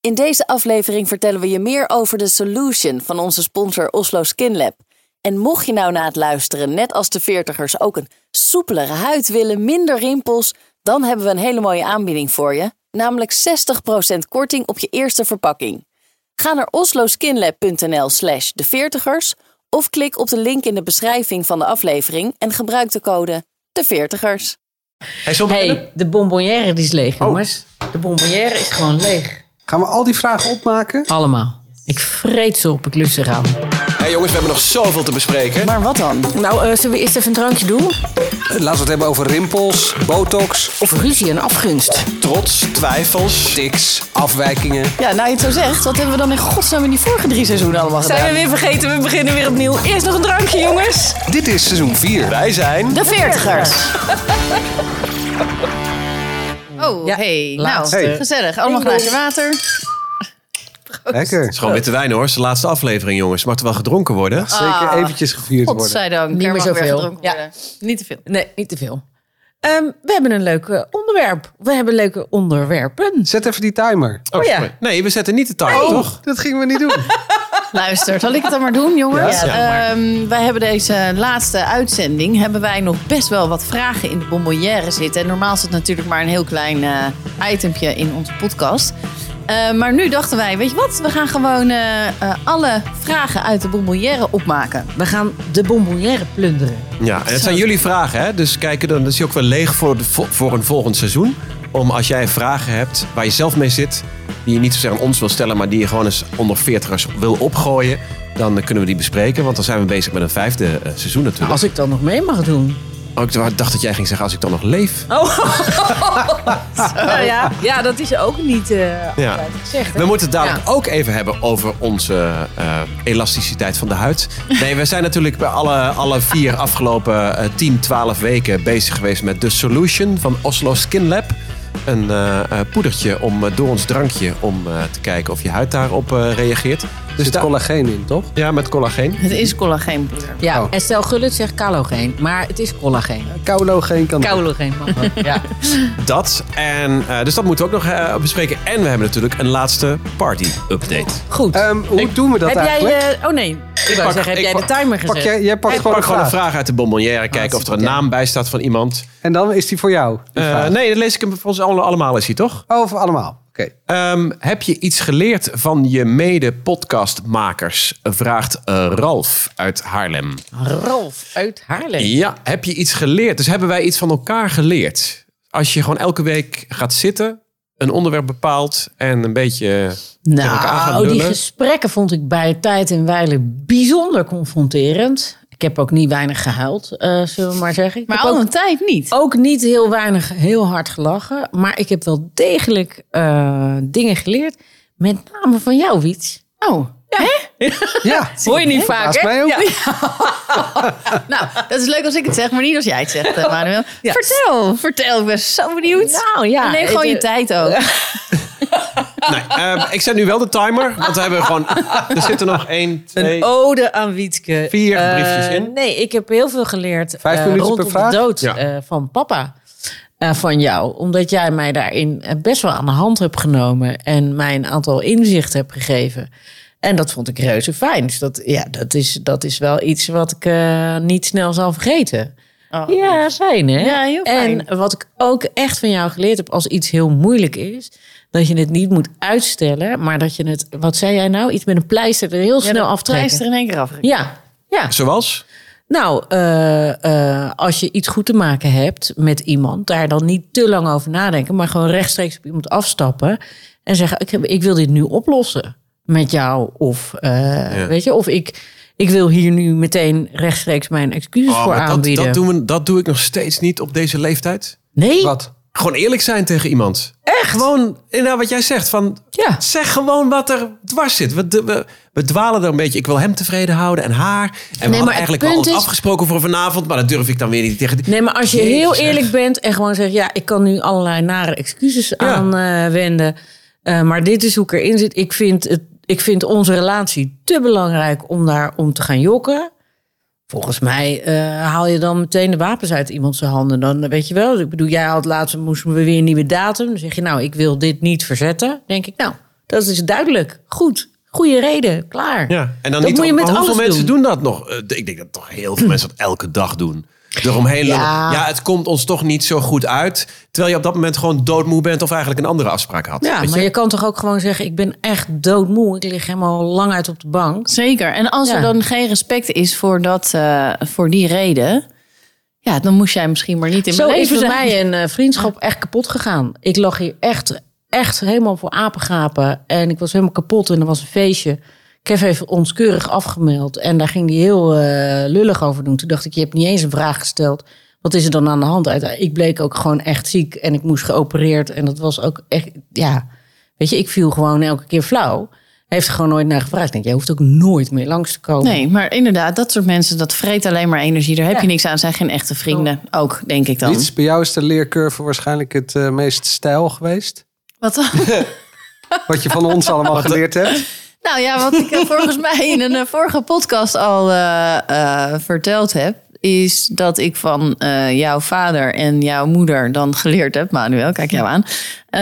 In deze aflevering vertellen we je meer over de Solution van onze sponsor Oslo Skin Lab. En mocht je nou na het luisteren, net als de veertigers, ook een soepelere huid willen, minder rimpels, dan hebben we een hele mooie aanbieding voor je. Namelijk 60% korting op je eerste verpakking. Ga naar osloskinlab.nl slash de veertigers of klik op de link in de beschrijving van de aflevering en gebruik de code de veertigers. Hey, zullen we beginnen? hey, de bonbonnière die is leeg, jongens. De bonbonnière is gewoon leeg. Oh. Gaan we al die vragen opmaken? Allemaal. Ik vreet ze op, ik lust ze aan. hey jongens, we hebben nog zoveel te bespreken. Maar wat dan? Nou, eh, zullen we eerst even een drankje doen? Laten we het hebben over rimpels, botox, Of ruzie en afgunst. Trots, twijfels. tics, afwijkingen. Ja, nou je het zo zegt, wat hebben we dan in godsnaam in die vorige drie seizoenen allemaal gedaan? Zijn we weer vergeten, we beginnen weer opnieuw. Eerst nog een drankje, jongens. Dit is seizoen 4. Wij zijn... De veertigers. Oh, Ja, hey. laatste. Nou, Hey. gezellig. Allemaal een glaasje water. Het Lekker. is gewoon witte wijn hoor, Het is de laatste aflevering jongens. Mag er wel gedronken worden? Zeker Ah. eventjes gevierd worden. Godzijdank. Er Niet meer mag weer zoveel. gedronken Ja. worden. Niet te veel. Nee, niet te veel. Ehm, we hebben een leuk eh, onderwerp. We hebben leuke onderwerpen. Zet even die timer. Oh, ja. sorry. Nee, we zetten niet de Oh. Oh. timer, toch? Dat gingen we niet doen. Luister, zal ik het dan maar doen, jongens? Ja, ja, maar. Ehm, wij hebben deze laatste uitzending... hebben wij nog best wel wat vragen in de bonbonnière zitten. En normaal is het natuurlijk maar een heel klein eh itempje in onze podcast. Eh, maar nu dachten wij, weet je wat? We gaan gewoon eh, eh, alle vragen uit de bonbonnière opmaken. We gaan de bonbonnière plunderen. Ja, en het zijn jullie vragen hè. Dus kijken, dan is je ook wel leeg voor, de, vo- voor een volgend seizoen. Om als jij vragen hebt waar je zelf mee zit... die je niet zozeer aan ons wil stellen... maar die je gewoon eens onder veertigers wil opgooien... dan eh, kunnen we die bespreken. Want dan zijn we bezig met een vijfde eh, seizoen natuurlijk. Als ik dan nog mee mag doen. Oh, ik dacht dat jij ging zeggen als ik dan nog leef. Nou ja, ja dat is ook niet Ja. altijd gezegd. We moeten het dadelijk ook even hebben over onze eh, elasticiteit van de huid. Nee, we zijn natuurlijk bij alle, alle vier afgelopen eh, 10, 12 weken bezig geweest met de Solution van Oslo Skin Lab. Een eh, eh, poedertje om, eh, door ons drankje om eh, te kijken of je huid daarop eh, reageert. Er Dus zit daar- collageen in, toch? ja, met collageen. Het is collageen, broeder. Ja, Oh. en stel Gullit zegt calogeen, maar het is collageen. Caulogeen kan Caulogeen, mag ja. Dat. En, eh, dus dat moeten we ook nog eh, bespreken. En we hebben natuurlijk een laatste party-update. Goed. Ehm, hoe doen we dat heb jij... eigenlijk? eh, oh nee, ik wou pak- zeggen, heb ik jij pak- de timer gezet? Pak jij, jij pakt Ik gewoon pak een gewoon een vraag. vraag uit de bonbonnière. Kijken of er een super, ja. naam bij staat van iemand. En dan is die voor jou. die Eh, vraag. nee, dat lees ik hem voor ons alle- allemaal is hij toch? Oh, voor allemaal. Oké. Ehm, heb je iets geleerd van je mede-podcastmakers? Vraagt eh, Ralf uit Haarlem. Rolf uit Haarlem. Ja, heb je iets geleerd? Dus hebben wij iets van elkaar geleerd? Als je gewoon elke week gaat zitten, een onderwerp bepaalt en een beetje... tegen elkaar gaan Nou, die lullen. gesprekken vond ik bij tijd en wijle bijzonder confronterend. Ik heb ook niet weinig gehuild, eh, zullen we maar zeggen. Ik Maar heb al ook, een tijd niet. ook niet heel weinig, heel hard gelachen. Maar ik heb wel degelijk eh, dingen geleerd. Met name van jou, Wiets. Oh, Ja. Hoor je niet vaak, Naast hè? mij ook. nou, dat is leuk als ik het zeg, maar niet als jij het zegt, eh, Manuel. Ja. Vertel, vertel. Ik ben zo benieuwd. Nou ja. Neem gewoon het, je eh, tijd ook. Nee, ehm, ik zet nu wel de timer, want we hebben gewoon... Er zitten nog één, twee... Een ode aan Wietke. Vier Eh, briefjes in. Nee, ik heb heel veel geleerd Vijf eh, minuten rondom per vraag? de dood Ja. eh, van papa. eh, van jou. Omdat jij mij daarin eh, best wel aan de hand hebt genomen. En mij een aantal inzichten hebt gegeven. En dat vond ik reuze fijn. Dus dat, ja, dat, is, dat is wel iets wat ik eh, niet snel zal vergeten. Oh. Ja, fijn hè? Ja, heel fijn. En wat ik ook echt van jou geleerd heb als iets heel moeilijk is... dat je het niet moet uitstellen, maar dat je het... Wat zei jij nou? Iets met een pleister er heel Ja, snel de aftrekken. pleister in één keer afgekregen. Ja, ja. Zoals? Nou, eh, eh, als je iets goed te maken hebt met iemand, daar dan niet te lang over nadenken, maar gewoon rechtstreeks op iemand afstappen en zeggen: ik, heb, ik wil dit nu oplossen met jou, of eh, Ja. weet je, of ik, ik wil hier nu meteen rechtstreeks mijn excuses Oh, voor maar dat, aanbieden. dat, doen we, dat doe ik nog steeds niet op deze leeftijd. Nee, Wat? Gewoon eerlijk zijn tegen iemand. Echt? Gewoon, eh, nou wat jij zegt, van, ja, zeg gewoon wat er dwars zit. We, d- we, we dwalen er een beetje. Ik wil hem tevreden houden en haar. En we maar hadden het eigenlijk punt wel wat is- afgesproken voor vanavond, maar dat durf ik dan weer niet tegen. Nee, maar als je Jezus, heel zeg. eerlijk bent en gewoon zegt: ja, ik kan nu allerlei nare excuses aanwenden. eh, maar dit is hoe ik erin zit. Ik vind, het, ik vind onze relatie te belangrijk om daar om te gaan jokken. Volgens mij eh, haal je dan meteen de wapens uit iemand zijn handen. Dan eh, weet je wel. Ik bedoel, jij had laatst moesten we weer een nieuwe datum. Dan zeg je, nou, ik wil dit niet verzetten. Denk ik, nou, Dat is duidelijk. Goed. Goede reden. Klaar. Ja. En dan dat niet moet je om- met maar hoeveel alles mensen doen. doen dat nog? Eh, Ik denk dat toch heel veel mensen dat elke dag doen. Eromheen lullen. Ja. ja, het komt ons toch niet zo goed uit. Terwijl je op dat moment gewoon doodmoe bent of eigenlijk een andere afspraak had. Ja, Weet maar je? kan toch ook gewoon zeggen, ik ben echt doodmoe. Ik lig helemaal lang uit op de bank. Zeker. En als Ja. er dan geen respect is voor, dat, eh, voor die reden... Ja, dan moest jij misschien maar niet in Zo mijn is leven bij zijn. mij een eh, vriendschap echt kapot gegaan. Ik lag hier echt, echt helemaal voor apengapen. En ik was helemaal kapot en er was een feestje. Kev heeft ons keurig afgemeld. En daar ging hij heel eh, lullig over doen. Toen dacht ik, je hebt niet eens een vraag gesteld. Wat is er dan aan de hand? Uite- Ik bleek ook gewoon echt ziek en ik moest geopereerd. En dat was ook echt, ja... Weet je, ik viel gewoon elke keer flauw. Hij heeft er gewoon nooit naar gevraagd. Ik denk, jij hoeft ook nooit meer langs te komen. Nee, maar inderdaad, dat soort mensen, dat vreet alleen maar energie. Daar heb je niks aan. Zijn geen echte vrienden. Oh. Ook, denk ik dan. Niets. Bij jou is de leercurve waarschijnlijk het eh, meest stijl geweest. Wat dan? Wat je van ons allemaal geleerd hebt. Nou ja, wat ik eh, volgens mij in een eh, vorige podcast al eh, eh, verteld heb, is dat ik van eh, jouw vader en jouw moeder dan geleerd heb, Manuel, kijk jou aan,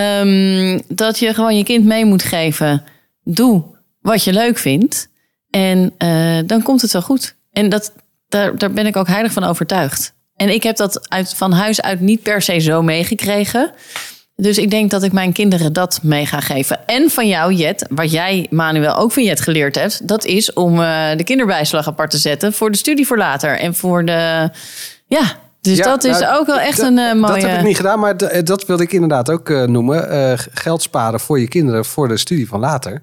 ehm, dat je gewoon je kind mee moet geven, doe wat je leuk vindt en eh, dan komt het wel goed. En dat, daar, daar ben ik ook heilig van overtuigd. En ik heb dat uit, van huis uit niet per se zo meegekregen. Dus ik denk dat ik mijn kinderen dat mee ga geven. En van jou, Jet, wat jij, Manuel, ook van Jet geleerd hebt... dat is om eh, de kinderbijslag apart te zetten voor de studie voor later. En voor de... Ja, dus Ja, dat is nou, ook wel echt dat- een eh, mooie... Dat heb ik niet gedaan, maar d- eh, dat wilde ik inderdaad ook eh, noemen. Eh, g- geld sparen voor je kinderen voor de studie van later.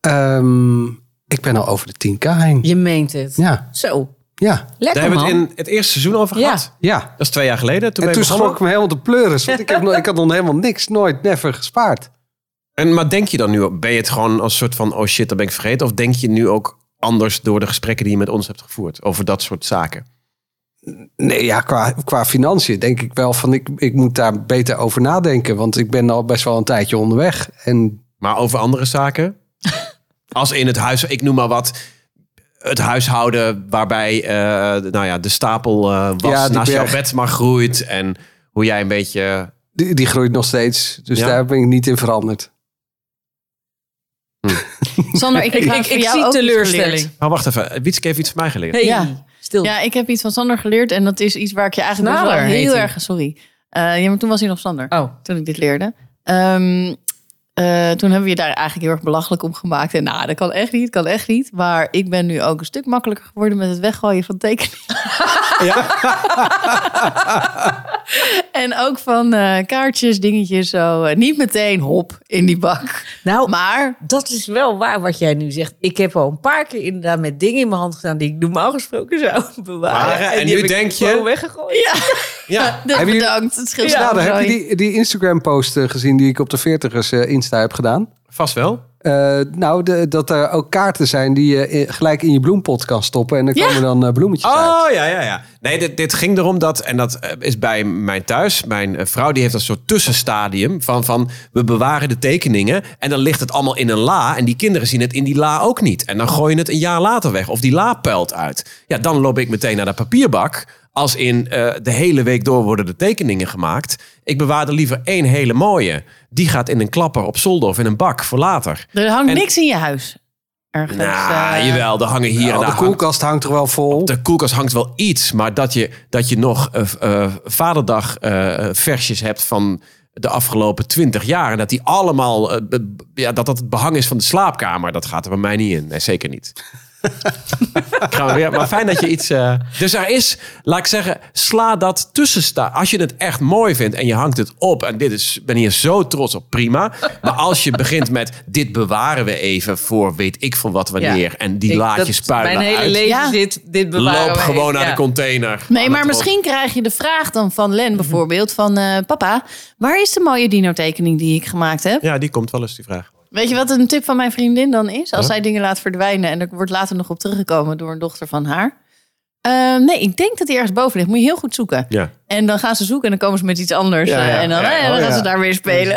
Ehm, ik ben al over de 10k heen. Je meent het. Ja, Zo, ja, Daar lekker hebben we man. het in het eerste seizoen over Ja. gehad. ja. Dat is twee jaar geleden. Toen ben en toen je begonnen. schrok ik me helemaal de pleuris. Want ik, heb nog, ik had nog helemaal niks, nooit, never gespaard. En, maar denk je dan nu, ook- ben je het gewoon als soort van, oh shit, dat ben ik vergeten? Of denk je nu ook anders door de gesprekken die je met ons hebt gevoerd over dat soort zaken? Nee, ja, qua, qua financiën denk ik wel van ik, ik moet daar beter over nadenken. Want ik ben al best wel een tijdje onderweg. En Maar over andere zaken? als in het huis, ik noem maar wat, het huishouden waarbij eh, de- nou ja, de stapel eh, was Ja, die naast jouw berg. bed maar groeit. En hoe jij een beetje... die, die groeit nog steeds. Dus Ja. daar ben ik niet in veranderd. Sander, ik, heb ik van jou zie ook iets teleurstelling. geleerd. Maar wacht even, Wietske heeft iets van mij geleerd. Hey, Ja. stil. Ja, ik heb iets van Sander geleerd en dat is iets waar ik je eigenlijk best wel Snader heet heel hij. erg... Sorry. Eh, ja, maar toen was hij nog Sander. Oh. toen ik dit leerde. Ehm, eh, toen hebben we je daar eigenlijk heel erg belachelijk om gemaakt. En nou, dat kan echt niet, kan echt niet. Maar ik ben nu ook een stuk makkelijker geworden met het weggooien van tekeningen. en ook van eh, kaartjes, dingetjes zo. eh, niet meteen hop in die bak. Nou, Maar dat is wel waar wat jij nu zegt. Ik heb al een paar keer inderdaad met dingen in mijn hand gedaan die ik normaal gesproken zou bewaren. Bewaren, en die nu heb ik denk je- gewoon weggegooid. Ja. dus Hebben jullie- bedankt, het scheelt Ja, wel nou, dan heb je zoiets. die, die Instagram-post eh, gezien die ik op de 40ers eh, Insta heb gedaan. Vast wel. Eh, nou, de- dat er ook kaarten zijn die je in- gelijk in je bloempot kan stoppen. En dan komen dan eh, bloemetjes uit. Oh ja, ja, ja. Nee, dit, dit ging erom dat, en dat eh, is bij mijn thuis. Mijn eh, vrouw die heeft een soort tussenstadium van, van we bewaren de tekeningen en dan ligt het allemaal in een la. En die kinderen zien het in die la ook niet. En dan gooi je het een jaar later weg of die la puilt uit. Ja, dan loop ik meteen naar de papierbak. Als in eh, de hele week door worden de tekeningen gemaakt. Ik bewaar er liever één hele mooie. Die gaat in een klapper op zolder of in een bak voor later. Er hangt En- niks in je huis. Ergens. Nou, eh, jawel, er hangen hier en Nou, daar de hangt- koelkast hangt er wel vol. op de koelkast hangt wel iets, maar dat je, dat je nog eh, eh, vaderdag eh, versjes hebt van de afgelopen twintig jaar. En dat die allemaal, eh, be- be- ja, dat dat het behang is van de slaapkamer. Dat gaat er bij mij niet in. Nee, zeker niet. Ik ga maar weer, maar fijn dat je iets... eh, Dus er is, laat ik zeggen, sla dat tussensta. Als je het echt mooi vindt en je hangt het op... en dit is, ben hier zo trots op, prima. Maar als je begint met, dit bewaren we even voor weet ik van wat wanneer... en die Ik- laadjes dat puilen Mijn hele uit. leven Ja. zit dit bewaren. Loop wij. gewoon naar Ja. de container. Nee, Aan maar het misschien krijg je de vraag dan van Len bijvoorbeeld van eh, papa, waar is de mooie dino-tekening die ik gemaakt heb? rot. Ja, die komt wel eens, die vraag. Weet je wat een tip van mijn vriendin dan is? Als zij dingen laat verdwijnen en er wordt later nog op teruggekomen door een dochter van haar. Eh, nee, ik denk dat die ergens boven ligt. Moet je heel goed zoeken. Ja. En dan gaan ze zoeken en dan komen ze met iets anders. Ja, eh, ja, en dan, ja. eh, dan Oh, gaan ja. ze daar weer spelen.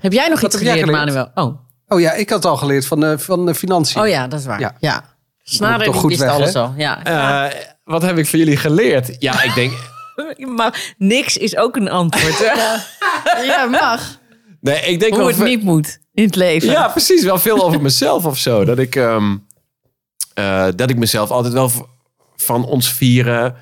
Heb jij nog Wat iets heb jij geleerd, geleerd? Manuel? Oh. Oh ja, ik had al geleerd van, eh, van de financiën. oh ja, dat is waar. Ja. Ja. Komt Snader toch die goed wist weg, alles hè? al. Ja. Eh, wat heb ik van jullie geleerd? Ja, ik denk... Maar niks is ook een antwoord. hè? Ja, mag. Nee, ik denk Hoe wel het ver- niet moet. in het leven. Ja, precies. Wel veel over mezelf of zo. Dat ik, ehm, eh, dat ik mezelf altijd wel v- van ons vieren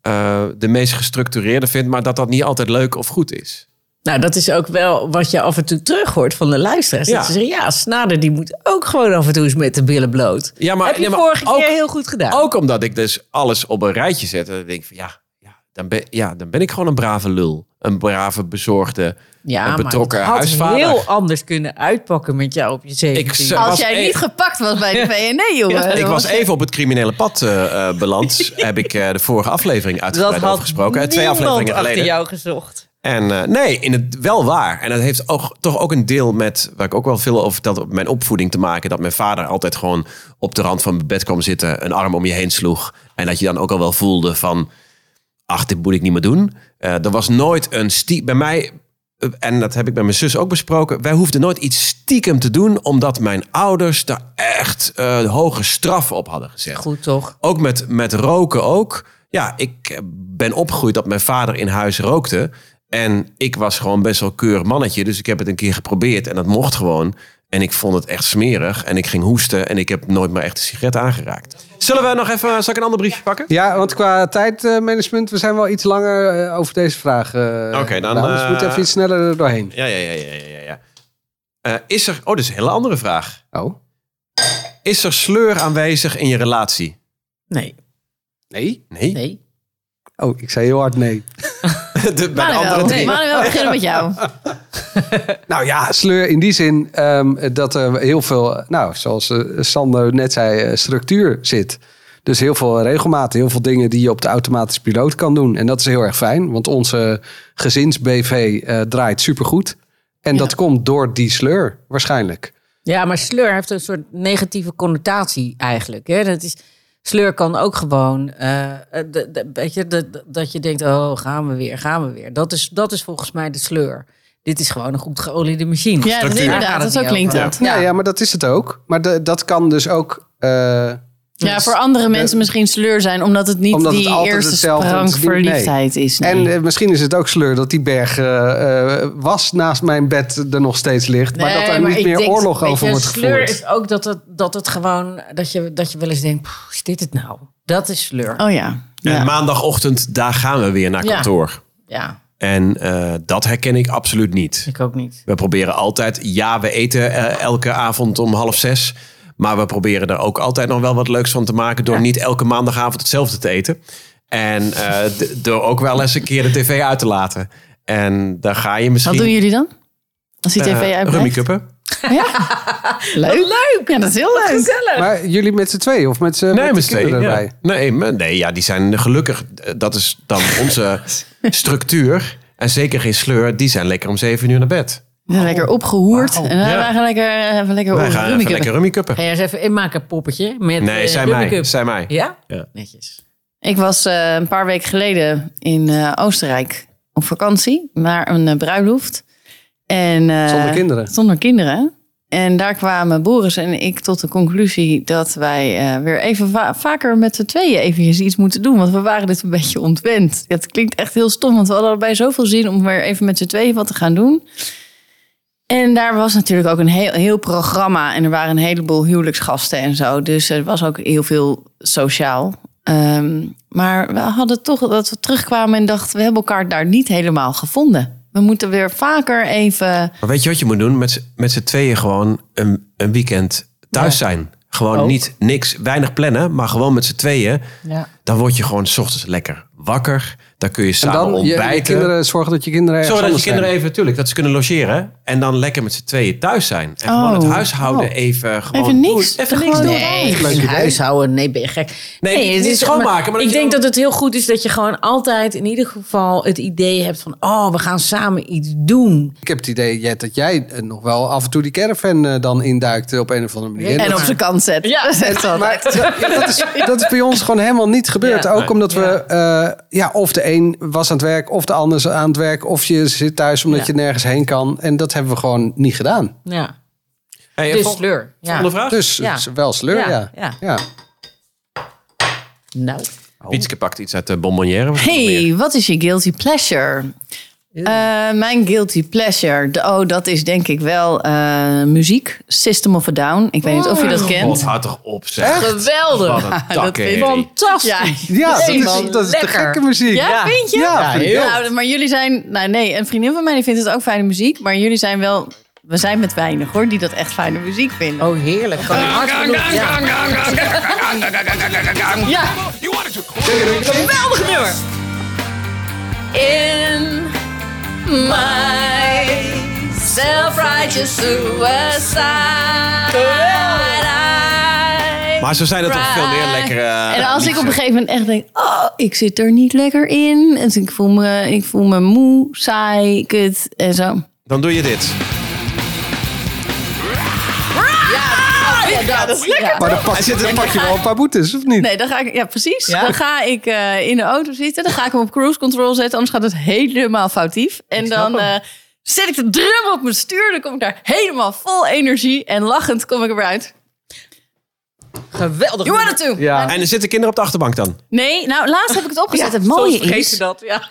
eh, de meest gestructureerde vind. Maar dat dat niet altijd leuk of goed is. Nou, dat is ook wel wat je af en toe terug hoort van de luisteraars. Ja. Dat ze zeggen, ja, Snader die moet ook gewoon af en toe eens met de billen bloot. Ja, maar, Heb je nee, maar vorige ook, keer heel goed gedaan. ook omdat ik dus alles op een rijtje zet. En dan denk ik van ja, ja, dan ben, ja, dan ben ik gewoon een brave lul. Een brave, bezorgde, ja, een betrokken maar het had huisvader. heel anders kunnen uitpakken met jou op je Ik zeventiende. zou- Als was jij e- niet gepakt was bij de VND, jongen. Ik dan was even op het criminele pad eh, eh, beland. heb ik eh, de vorige aflevering Dat uitgebreid had over gesproken. Eh, Twee niemand afleveringen achter geleden. jou gezocht. En eh, nee, in het, wel waar. En dat heeft ook, toch ook een deel met, waar ik ook wel veel over vertelde, op mijn opvoeding te maken. Dat mijn vader altijd gewoon op de rand van mijn bed kwam zitten, een arm om je heen sloeg. En dat je dan ook al wel voelde van, ach, dit moet ik niet meer doen. Eh, er was nooit een stie. Bij mij, eh, en dat heb ik bij mijn zus ook besproken, wij hoefden nooit iets stiekem te doen, omdat mijn ouders daar echt eh, hoge straffen op hadden gezet. Goed toch? Ook met, met roken ook. Ja, ik eh, ben opgegroeid dat mijn vader in huis rookte. En ik was gewoon best wel een keurig mannetje. Dus ik heb het een keer geprobeerd en dat mocht gewoon. En ik vond het echt smerig. En ik ging hoesten en ik heb nooit meer echt een sigaret aangeraakt. Zullen we nog even, zal ik een ander briefje pakken? Ja, want qua tijdmanagement, we zijn wel iets langer eh, over deze vraag. eh, Oké, dan, gedaan, Dus eh, we moeten even iets sneller er doorheen. Ja, ja, ja, ja, ja. ja, ja. Eh, is er, oh, dat is een hele andere vraag. Oh, Is er sleur aanwezig in je relatie? Nee, nee? Nee. nee. Oh, ik zei heel hard nee. De- bij de andere Manuel, drie. Manuel, we beginnen met jou. Nou ja, sleur in die zin ehm, dat er heel veel, nou, zoals eh, Sander net zei, eh, structuur zit. Dus heel veel regelmaat, heel veel dingen die je op de automatische piloot kan doen. En dat is heel erg fijn, want onze gezins-BV eh, draait supergoed. En dat komt door die sleur, waarschijnlijk. Ja, maar sleur heeft een soort negatieve connotatie eigenlijk. Hè? Dat is, sleur kan ook gewoon, eh, eh, d- d- weet je, dat- dat- dat je denkt, oh, gaan we weer, gaan we weer. Dat is, dat is volgens mij de sleur. Dit is gewoon een goed geoliede Ja, machine. dat is Daar gaat inderdaad. het Dat zo niet klinkt over. dat. Nou Ja, Ja. ja maar dat is het ook. Maar de- dat kan dus ook, eh, Dus Ja, voor andere mensen misschien sleur zijn, omdat het niet Omdat het die altijd eerste hetzelfde is. sprank verliefdheid is. nee. en eh, misschien is het ook sleur dat die berg eh, eh, was naast mijn bed er nog steeds ligt. maar Nee, dat daar maar niet ik meer denk- oorlog Weet over je, wordt sleur gevoerd. is ook dat het, dat het gewoon, dat je, dat je wel eens denkt, "Pff, is dit het nou? Dat is sleur. Oh ja. En ja. maandagochtend, daar gaan we weer naar Ja. kantoor. Ja, En eh, dat herken ik absoluut niet. ik ook niet. We proberen altijd, ja, we eten eh, elke avond om half zes. Maar we proberen er ook altijd nog wel wat leuks van te maken. door niet elke maandagavond hetzelfde te eten. En eh, d- door ook wel eens een keer de tv uit te laten. En daar ga je misschien. Wat doen jullie dan? Als die tv eh, uitblijft? rummikuppen. Leuk. leuk. Ja, dat is heel leuk. Maar jullie met z'n twee of met z'n met Nee, de met z'n kinderen tweeën, ja. erbij? Nee, maar- nee, ja, die zijn gelukkig. eh, Dat is dan onze structuur. En zeker geen sleur. Die zijn lekker om zeven uur naar bed. We zijn lekker opgehoerd. en dan Ja. wij gaan lekker, eh, even lekker Wij gaan even lekker rummikuppen. rummikuppen. Ga jij eens even inmaken, poppetje? Met, Nee, eh, zij mij. rummikup. Zij mij. Ja? Ja. Netjes. Ik was eh, een paar weken geleden in eh, Oostenrijk op vakantie naar een eh, bruiloft. En, eh, Zonder kinderen? Zonder kinderen. En daar kwamen Boris en ik tot de conclusie dat wij eh, weer even va- vaker met z'n tweeën eventjes iets moeten doen. Want we waren dit een beetje ontwend. Dat klinkt echt heel stom, want we hadden allebei zoveel zin om weer even met z'n tweeën wat te gaan doen. En daar was natuurlijk ook een heel, heel programma en er waren een heleboel huwelijksgasten en zo. Dus er was ook heel veel sociaal. Ehm, maar we hadden toch dat we terugkwamen en dachten, we hebben elkaar daar niet helemaal gevonden. We moeten weer vaker even Maar weet je wat je moet doen? Met, z'n- met z'n tweeën gewoon een, een weekend thuis zijn. Gewoon niet niks, weinig plannen, maar gewoon met z'n tweeën. Ja. Dan word je gewoon 's ochtends lekker wakker. Dan kun je En samen dan je- je, ontbijten. kinderen, zorgen dat je kinderen ergens Zodat je anders kinderen zijn. even, natuurlijk, dat ze kunnen logeren. En dan lekker met z'n tweeën thuis zijn. En gewoon het Oh. huishouden even gewoon Even niks. doen. Even niks Gewoon doen. Nee, Leuk geen idee. huishouden. Nee, ben je gek. Nee, niet schoonmaken, maar dat ik je denk dan- dat het heel goed is dat je gewoon altijd in ieder geval het idee hebt van... oh, we gaan samen iets doen. Ik heb het idee Jet, dat jij eh, nog wel af en toe die caravan eh, dan induikt eh, op een of andere manier. en dat, op zijn kant zetten. Ja, dat is echt zo. maar dat, is, dat is bij ons gewoon helemaal niet gebeurd. Ja. Ook omdat we, eh, ja, of de een was aan het werk, of de ander is aan het werk, of je zit thuis omdat Ja. je nergens heen kan. En dat hebben we gewoon niet gedaan. Ja, Hey, dus vol- sleur. Ja. Volgende vraag? Dus Ja. het is wel sleur, Ja, ja. ja. Nou, Pietske pakt iets uit de bonbonnière. Hey, wat is je guilty pleasure? Eh, mijn guilty pleasure. De- oh, dat is denk ik wel eh, muziek. System of a Down. Ik weet niet of je Oh. dat kent. God, houd toch op, zeg. Geweldig. Wat een tak, hé. Fantastisch. Ja, Ja, dat Jezus, is, dat is de lekker. gekke muziek. Ja, vind je? Ja, vind ik wel. Nou, maar jullie zijn... Nou nee, een vriendin van mij die vindt het ook fijne muziek. Maar jullie zijn wel... We zijn met weinig hoor, die dat echt fijne muziek vinden. Oh, heerlijk. Kan ik hard genoeg- ja. Ja. Geweldig nummer. In my self-righteous suicide. I Maar zo zijn er toch veel meer lekkere... En als ik op een liedjes. gegeven moment echt denk, oh, ik zit er niet lekker in. En dus ik voel me, ik voel me moe, saai, kut en zo. Dan doe je dit. ja, dat is lekker. Maar dan pak, zit er- dan pak je wel een paar boetes, of niet? Nee, dan ga ik, ja precies. Ja. Dan ga ik eh, in de auto zitten, dan ga ik hem op cruise control zetten, anders gaat het helemaal foutief. En dan eh, zet ik de drum op mijn stuur, dan kom ik daar helemaal vol energie en lachend kom ik eruit. Geweldig. You want it too? Ja. En er zitten kinderen op de achterbank dan. Nee, nou laatst heb ik het opgezet. het Soms mooie vergeet je is, dat. Ja.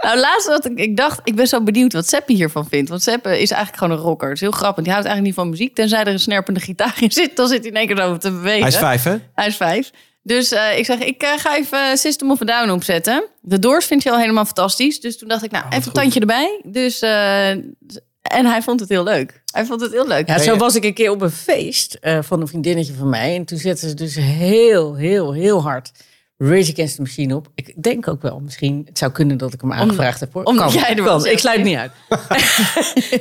nou laatst wat ik, ik dacht, ik ben zo benieuwd wat Seppe hiervan vindt. Want Seppe is eigenlijk gewoon een rocker. Het is heel grappig. Die houdt eigenlijk niet van muziek. Tenzij er een snerpende gitaar in zit, dan zit hij in één keer over te bewegen. Hij is vijf, hè? Hij is vijf. Dus eh, ik zeg, ik eh, ga even eh, System of a Down opzetten. De Doors vindt hij al helemaal fantastisch. Dus toen dacht ik, nou, Oh, even een tandje erbij. Dus, eh, en hij vond het heel leuk. Hij vond het heel leuk. Ja, zo was ik een keer op een feest eh, van een vriendinnetje van mij. En toen zetten ze dus heel, heel, heel hard Rage Against the Machine op. Ik denk ook wel, misschien, het zou kunnen dat ik hem aangevraagd heb. Hoor. omdat jij er was, kan. Ik sluit het niet uit.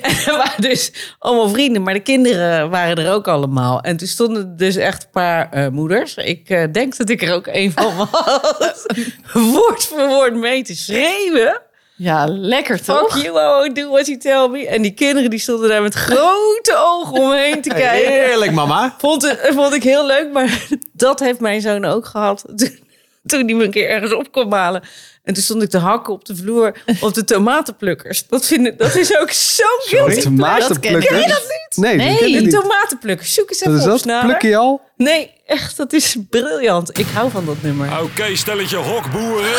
en er waren dus allemaal vrienden, maar de kinderen waren er ook allemaal. En toen stonden dus echt een paar eh, moeders. Ik eh, denk dat ik er ook een van was. woord voor woord mee te schreeuwen. Ja, lekker Fuck toch? you, I won't do what you tell me. En die kinderen die stonden daar met grote ogen omheen te kijken. Heerlijk, mama. Vond, het, vond ik heel leuk, maar dat heeft mijn zoon ook gehad. Toen, toen hij me een keer ergens op kon halen. En toen stond ik te hakken op de vloer op de tomatenplukkers. Dat, vind ik, dat is ook zo Sorry, guilty. tomatenplukkers? Ken je Nee, die ken ik De niet. tomatenplukkers, zoek eens even Dat is op, dat, Snader. pluk je al? Nee, echt, dat is briljant. Ik hou van dat nummer. Oké, stelletje hokboeren.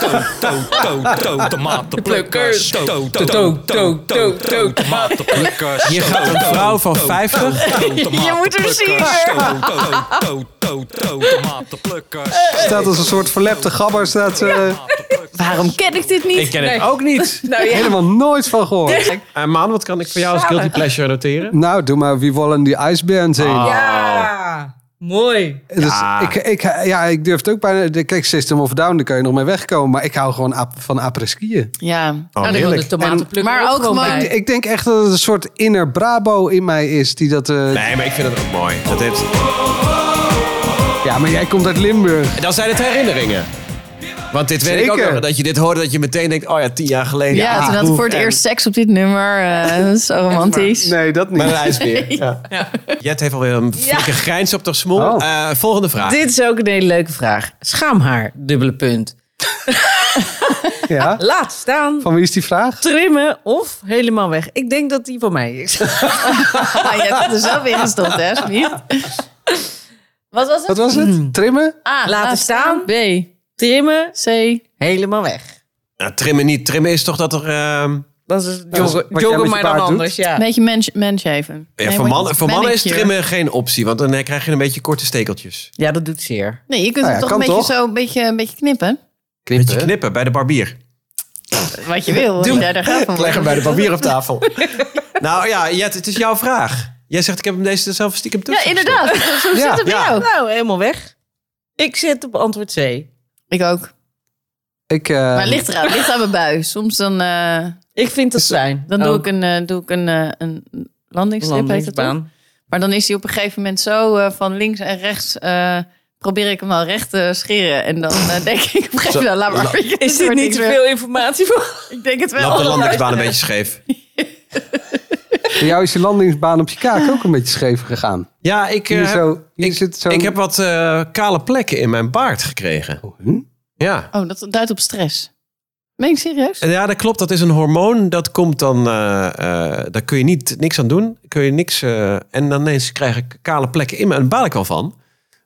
To, to, to, to, tomatenplukkers. To, to, to, to, to, to, tomatenplukkers. Hier gaat een vrouw van 50. Je moet hem zien, To, to, to, to, to, tomatenplukkers. Staat als een soort verlepte gabber, staat ze Waarom ken ik dit niet? Ik ken het ook niet. Nou ja, helemaal nooit van gehoord. En man, Eh, wat kan ik voor jou als guilty pleasure noteren? Oh, Nou, doe maar wie willen die ijsberen zien. Ah, ja. mooi. Dus Ik, ik, ja, ik durf het ook bijna... de- Kijk, System of a Down, daar kan je nog mee wegkomen. Maar ik hou gewoon ap- van apres-skiën. Ja. Oh, Nou, dan heerlijk. de tomatenplukker Maar ook gewoon gewoon- bij. Ik, ik denk echt dat het een soort inner Brabo in mij is. Die dat, eh, Nee, maar ik vind het ook mooi. Dat heeft... Ja, maar jij komt uit Limburg. Dan zijn het herinneringen. Want dit weet ik ook Zeker. nog. Dat je dit hoorde, dat je meteen denkt... Oh ja, tien jaar geleden. Ja, toen had ik voor het eerst seks op dit nummer. eh, dat is zo romantisch. Nee, dat Met een niet. ijsbeer. Ja. Jet heeft alweer een flinke grijns op de smoel. Oh. Eh, volgende vraag. Dit is ook een hele leuke vraag. Schaamhaar, dubbele punt. Ja. Laat staan, Van wie is die vraag? trimmen of helemaal weg. Ik denk dat die van mij is. Ah, je hebt het er zelf in gestopt, hè? Of niet? Wat was Wat het? was Hmm. het? Trimmen? A. Laten staan. Ah, B. Trimmen, C. helemaal weg. Nou, trimmen niet. Trimmen is toch dat er... ehm, Dat is joggen, is wat jij joggen met je maar dan paard doet. anders, ja. Een beetje mens, menshaven. ja, Nee, voor hoe heet mannen, het? voor mannen is Manicure. trimmen geen optie. Want dan eh, krijg je een beetje korte stekeltjes. Ja, dat doet zeer. Nee, je kunt Nou het ja, toch een beetje kan toch? zo een beetje, een beetje knippen. Knippen. Beetje knippen bij de barbier. Wat je wil. Doe. Jij daar gaat van Leg worden. hem bij de barbier op tafel. nou ja, Jet, het is jouw vraag. Jij zegt, ik heb hem deze zelf stiekem Ja, tussen. inderdaad. Zo zit het bij Ja. jou. Nou, helemaal weg. Ik zit op antwoord C. Ik ook. Ik, eh, Maar ligt eraan. Ligt aan mijn bui. Soms dan, eh, Ik vind dat zijn. dan doe ik een, eh, doe ik een, eh, een landingsstrip. Heet dat toch? landingsbaan. maar dan is hij op een gegeven moment zo eh, van links en rechts... eh, Probeer ik hem al recht te scheren. En dan eh, denk ik op een gegeven moment, laat maar. Ik doe Is er dit niet niks te meer. veel informatie voor? Ik denk het wel. Loopt de landingsbaan een beetje scheef. Bij jou is je landingsbaan op je kaak ook een beetje scheef gegaan. Ja, ik, eh, Hier, zo, hier ik, zit zo'n... ik heb wat eh, kale plekken in mijn baard gekregen. Hm? Ja. Oh, dat duidt op stress. Meen ik serieus? En Ja, dat klopt. Dat is een hormoon. Dat komt dan. eh, eh, daar kun je niet, niks aan doen. Kun je niks, eh, en dan ineens krijg ik kale plekken in me. En daar baal ik wel van.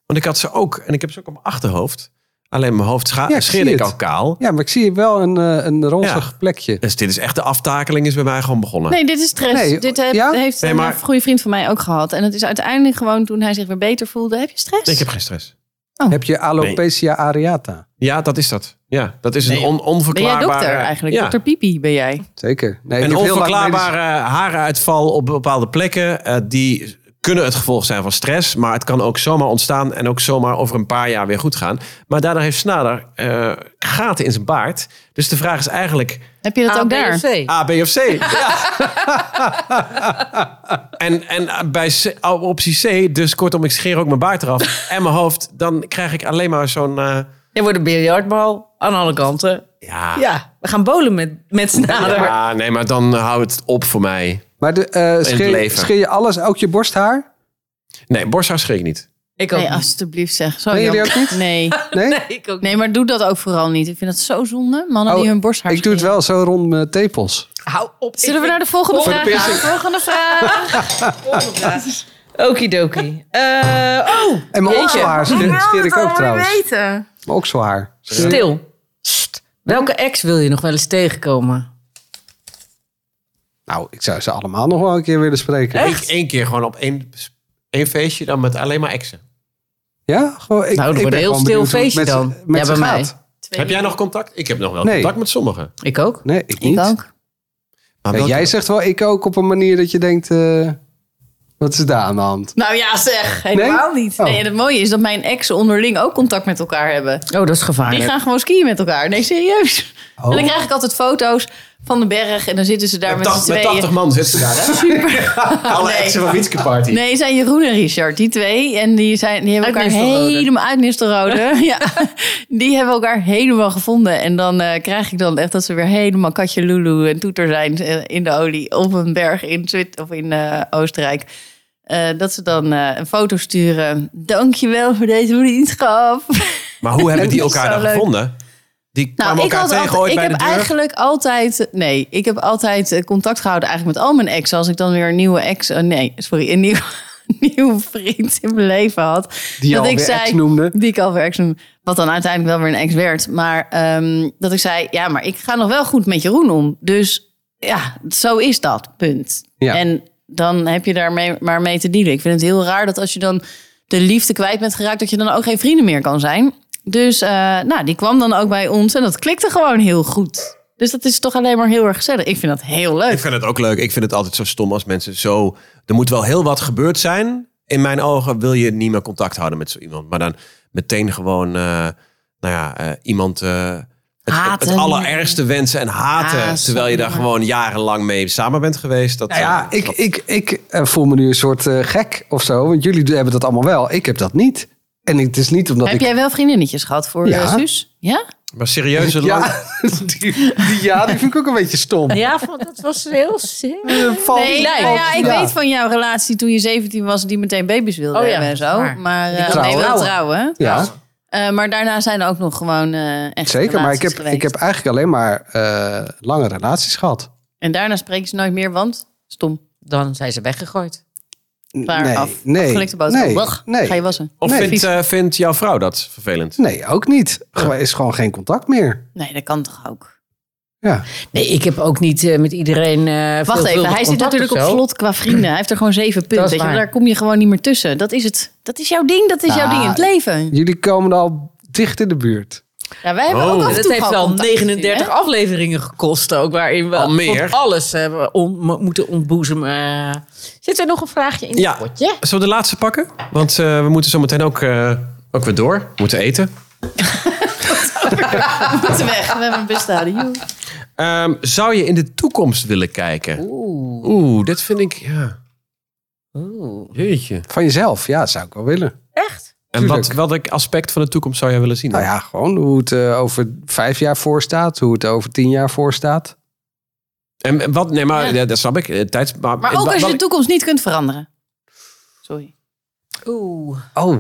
Want ik had ze ook. En ik heb ze ook op mijn achterhoofd. Alleen mijn hoofd scha- Ja, ik scheerde zie ik het. al kaal. Ja, maar ik zie wel een, eh, een rozig plekje. Dus dit is echt de aftakeling is bij mij gewoon begonnen. Nee, dit is stress. Nee, dit heb- ja? heeft Nee, maar- een goede vriend van mij ook gehad. En het is uiteindelijk gewoon toen hij zich weer beter voelde. Heb je stress? Ik heb geen stress. Heb je alopecia areata? Ja, dat is dat. Ja, dat is een on- ben jij onverklaarbare... dokter eigenlijk? Ja. Dokter Pipi ben jij. Zeker. Nee, ik Een heb heel lang onverklaarbare haaruitval op bepaalde plekken. eh, die kunnen het gevolg zijn van stress. Maar het kan ook zomaar ontstaan. En ook zomaar over een paar jaar weer goed gaan. Maar daardoor heeft Snader eh, gaten in zijn baard. Dus de vraag is eigenlijk Heb je dat ook daar? A, B of C. Ja. en, en bij C- oh, optie C, dus kortom, ik scheer ook mijn baard eraf. en mijn hoofd. Dan krijg ik alleen maar zo'n... eh, Je wordt een biljartbal aan alle kanten. ja. Ja. Ja, we gaan bolen met, met snader. nee, maar dan houdt het op voor mij. Maar de, eh, scheer, leven. scheer je alles, ook je borsthaar? Nee, borsthaar scheer ik niet. Ik ook Nee, niet. alsjeblieft zeg. Zo Nee, jullie jammer. ook niet? Nee. Nee? Ik ook nee, maar doe dat ook vooral niet. Ik vind dat zo zonde. Mannen Oh, die hun borsthaar Ik doe het scheren. wel zo rond mijn tepels. niet. Hou op. Zullen we naar de volgende Voor de vraag gaan? Volgende vraag. Okidoki. oh, En mijn okselhaar Nou, scheer, scheer ik ook trouwens. Weten. Mijn okselhaar. Scheer- stil. Sst. Welke ex wil je nog wel eens tegenkomen? Nou, ik zou ze allemaal nog wel een keer willen spreken. Eén één keer gewoon op één, één feestje, dan met alleen maar exen. Ja? Gewoon, ik, Nou, dat ik wordt een ben heel gewoon stil benieuwd hoe het feestje met dan. ze- Met Ja, ze bij mij. gaat. Heb jij nog contact? Ik heb nog wel Nee. contact met sommigen. Ik ook. Nee, ik Ik niet. ook. Maar Nee, welke- jij zegt wel ik ook op een manier dat je denkt... eh, wat is daar aan de hand? Nou ja, zeg. Helemaal Nee? niet. Oh. Nee, en het mooie is dat mijn exen onderling ook contact met elkaar hebben. Oh, dat is Die gevaarlijk. gaan gewoon skiën met elkaar. Nee, serieus. En dan krijg ik altijd foto's van de berg. En dan zitten ze daar met, Tacht- z'n met tweeën. 80 man zitten ze daar, hè? Alle Nee. exen van Wietske Party. Nee, het zijn Jeroen en Richard, die twee. En die, zijn, die hebben Uit elkaar Nistelrode. helemaal uit Nistelrode. ja. Die hebben elkaar helemaal gevonden. En dan eh, krijg ik dan echt dat ze weer helemaal katje Lulu en toeter zijn eh, in de olie. Op een berg in Zwit of in eh, Oostenrijk. Eh, dat ze dan eh, een foto sturen. Dankjewel voor deze vriendschap. Maar hoe hebben die Dat is elkaar zo dan leuk. gevonden? Die kwamen Nou, ik, elkaar had tegen altijd, ooit ik bij heb de deur. eigenlijk altijd... Nee, ik heb altijd eh, contact gehouden eigenlijk met al mijn exen. Als ik dan weer een nieuwe ex... oh, nee, sorry, een nieuwe, nieuwe vriend in mijn leven had. Die je dat ik alweer zei, ex noemde. Die ik alweer ex noemde. Wat dan uiteindelijk wel weer een ex werd. Maar ehm, dat ik zei, ja, maar ik ga nog wel goed met Jeroen om. Dus ja, zo is dat, punt. Ja. En dan heb je daar mee- maar mee te dealen. Ik vind het heel raar dat als je dan de liefde kwijt bent geraakt... dat je dan ook geen vrienden meer kan zijn. Dus eh, nou, die kwam dan ook bij ons en dat klikte gewoon heel goed. Dus dat is toch alleen maar heel erg gezellig. Ik vind dat heel Ik leuk. vind het ook leuk. Ik vind het altijd zo stom als mensen zo... Er moet wel heel wat gebeurd zijn. In mijn ogen wil je niet meer contact houden met zo iemand. Maar dan meteen gewoon... eh, nou ja, eh, iemand... eh, het, Haten. het allerergste wensen en haten. Ah, terwijl je daar zonde. gewoon jarenlang mee samen bent geweest. Dat, Nou ja, eh, ik, ik, ik eh, voel me nu een soort eh, gek of zo. Want jullie hebben dat allemaal wel. Ik heb dat niet. En ik- het is niet omdat Heb ik... jij wel vriendinnetjes gehad voor Ja. eh, Suus? Ja? Maar serieus, een lang- Ja, die, die- ja, die vind ik ook een beetje stom. Ja, vond- dat was heel zin. Eh, val- Nee, val- nou ja, ik ja. weet van jouw relatie toen je 17 was... die meteen baby's wilde Oh ja, hebben en zo. waar. Maar eh Trouwen. nee, wel trouwen. Ja, Eh, maar daarna zijn er ook nog gewoon eh echt zeker. Maar ik heb, relaties ik heb geweest. eigenlijk alleen maar eh, lange relaties gehad. En daarna spreek je ze nooit meer, want stom. Dan zijn ze weggegooid. Klaar, nee, af. nee, Afgelikte boterham. nee, Wag, nee. Ga je wassen. Of Nee. vindt, eh, vindt jouw vrouw dat vervelend? Nee, ook niet. Er is gewoon geen contact meer. Nee, dat kan toch ook? Ja. Nee, ik heb ook niet eh, met iedereen. eh, Wacht even, veelvuldig hij zit contact natuurlijk op of zo. slot qua vrienden. Hij heeft er gewoon zeven punten. weet is je wel. waar. Daar kom je gewoon niet meer tussen. Dat is het. Dat is jouw ding. Dat is jouw Nou, ding in het leven. Jullie komen al dicht in de buurt. Ja, wij hebben Oh. ook af en Dat toe heeft gewoon wel contact gezien, 39 hè? afleveringen gekost ook, waarin we Al meer. van alles hebben on- mo- moeten ontboezemen. Zit er nog een vraagje in Ja. het potje? Zullen we de laatste pakken? Want eh, we moeten zo meteen ook, eh, ook weer door. We moeten eten. We moeten weg. We hebben een bestade. Joe. Ehm, zou je in de toekomst willen kijken? Oeh. dat vind ik... Ja. Jeetje. Van jezelf, ja, dat zou ik wel willen. Echt? En wat, Tuurlijk. welk aspect van de toekomst zou jij willen zien? Nou ja, gewoon hoe het eh, over vijf jaar voor staat, hoe het over tien jaar voor staat. en, en wat, nee, maar ja, dat snap ik. Eh, Tijds, maar, Maar eh, ook wa- als je wa- de toekomst niet kunt veranderen. Sorry. Oeh. Oh,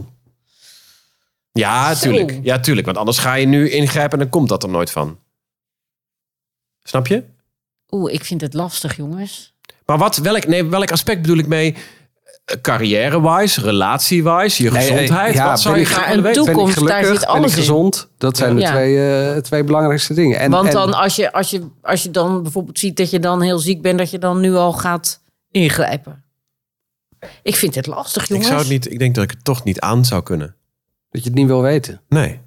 ja, tuurlijk. ja, tuurlijk. Want anders ga je nu ingrijpen en dan komt dat er nooit van. Snap je? Oeh, ik vind het lastig, jongens. Maar wat, welk, nee, welk aspect bedoel ik mee? Eh, carrière-wise, relatie-wise, je Nee, nee, gezondheid. ja, wat zou ben je ik- graag Ja, willen en weten? toe- Toekomst, ben ik daar gelukkig, zit ben alles ik in. gezond. Dat zijn de Ja. twee, eh, twee belangrijkste dingen. En, Want en- dan als je, als, je, als je dan bijvoorbeeld ziet dat je dan heel ziek bent, dat je dan nu al gaat ingrijpen. Ik vind het lastig, Ik, jongens. zou het niet, ik denk dat ik het toch niet aan zou kunnen. dat je het niet wil weten. Nee.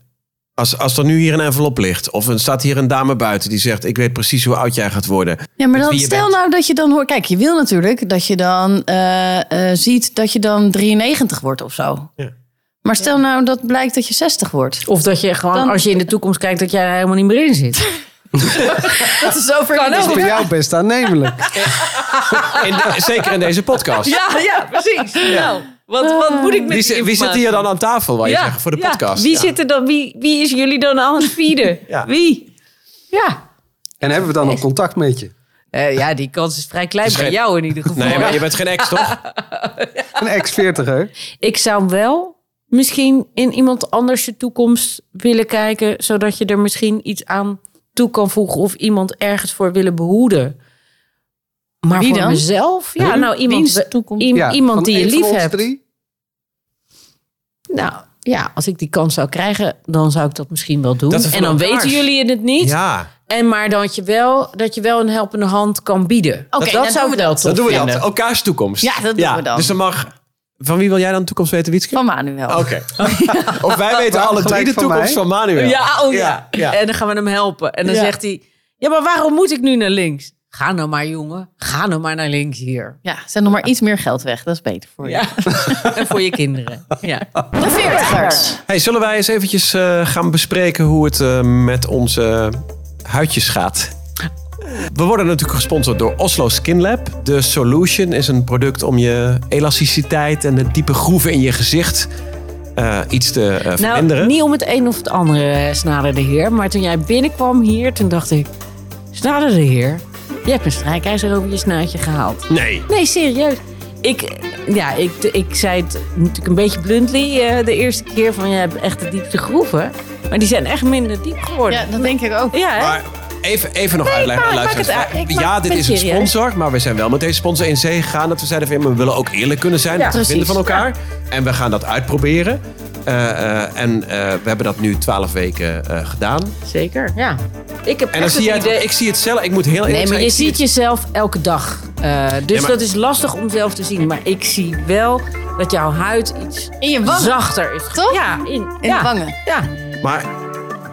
Als, als er nu hier een envelop ligt, of er staat hier een dame buiten die zegt: Ik weet precies hoe oud jij gaat worden. Ja, maar Met dan wie je stel bent. nou dat je dan hoort. Kijk, je wil natuurlijk dat je dan eh, eh, ziet dat je dan 93 wordt of zo. Ja. Maar stel nou dat blijkt dat je 60 wordt. Of dat je gewoon, Dan- als je in de toekomst kijkt, dat jij er helemaal niet meer in zit. Dat is over. Kan Dat is voor jou best aannemelijk. In de- zeker in deze podcast. Ja, ja, precies. Nou, wat, wat moet ik met Wie, zi- wie zit hier dan aan tafel, waar je Ja, zegt, voor de ja. podcast? Wie, zit er dan, wie, wie is jullie dan aan het feeden? Ja. Wie? Ja. En hebben we dan nog contact met je? Eh, ja, die kans is vrij klein Dus bij geen- jou in ieder geval. Nee, maar je bent geen ex, toch? Een ex-veertiger. Ik zou hem wel misschien in iemand anders je toekomst willen kijken, zodat je er misschien iets aan toe kan voegen of iemand ergens voor willen behoeden. Maar Wie voor dan? mezelf? Ja, nou iemand, Wiens toekomst? iem- iemand van die je één van lief ons hebt. drie. Nou ja, als ik die kans zou krijgen, dan zou ik dat misschien wel doen. Dat we van En dan elkaar- weten jullie het niet. Ja. En maar dat je, wel, dat je wel een helpende hand kan bieden. Oké, dan dat doen zou ik we wel dat. Dan tof Oh. doen we dat. vinden. Elkaars toekomst. Ja, dat doen we dan. Dus dan mag... Van wie wil jij dan de toekomst weten, Wietske? Van Manuel. Oké. of wij weten alle drie gelijk de van toekomst mij? van Manuel. Ja, oh ja. Ja, ja. En dan gaan we hem helpen. En dan Ja. zegt hij: Ja, maar waarom moet ik nu naar links? Ga nou maar, jongen. Ga nou maar naar links hier. Ja, zet nog maar iets meer geld weg. Dat is beter voor je. Oh, Ja. en voor je kinderen. Ja. De 40ers. Hey, zullen wij eens eventjes eh, gaan bespreken hoe het eh, met onze huidjes gaat? We worden natuurlijk gesponsord door Oslo Skin Lab. De Solution is een product om je elasticiteit en de diepe groeven in je gezicht eh, iets te eh, Nou, verminderen. niet om het een of het andere, eh, Snader de Heer. Maar toen jij binnenkwam hier, toen dacht ik: Snader de Heer, je hebt een strijkijzer over je snuitje gehaald. Nee. Nee, serieus. Ik, eh, ja, ik, ik zei het natuurlijk een beetje bluntly eh, de eerste keer: van je hebt echt de diepste groeven. Maar die zijn echt minder diep geworden. Ja, dat denk ik ook. Ja, hè? Maar even, even nog uitleggen aan ik maak het luisteraars. uit. Ik Ja, maak- dit ben is een serieus. sponsor, maar we zijn wel met deze sponsor in zee gegaan. Dat we zeiden van, ja, maar we willen ook eerlijk kunnen zijn. Ja, dat we vinden van precies. elkaar. En we gaan dat uitproberen. Eh, eh, en eh, we hebben dat nu twaalf weken eh, gedaan. Zeker, ja. Ik heb En dan echt zie jij het het, idee... ik zie het zelf. Ik moet heel eerlijk nee, maar zijn, je ik zie ziet het- jezelf elke dag. Eh, dus Ja, maar- dat is lastig om zelf te zien. Maar ik zie wel dat jouw huid iets In je wangen. zachter is. Toch? Ja, in, In ja, Oh, de wangen. Ja. Maar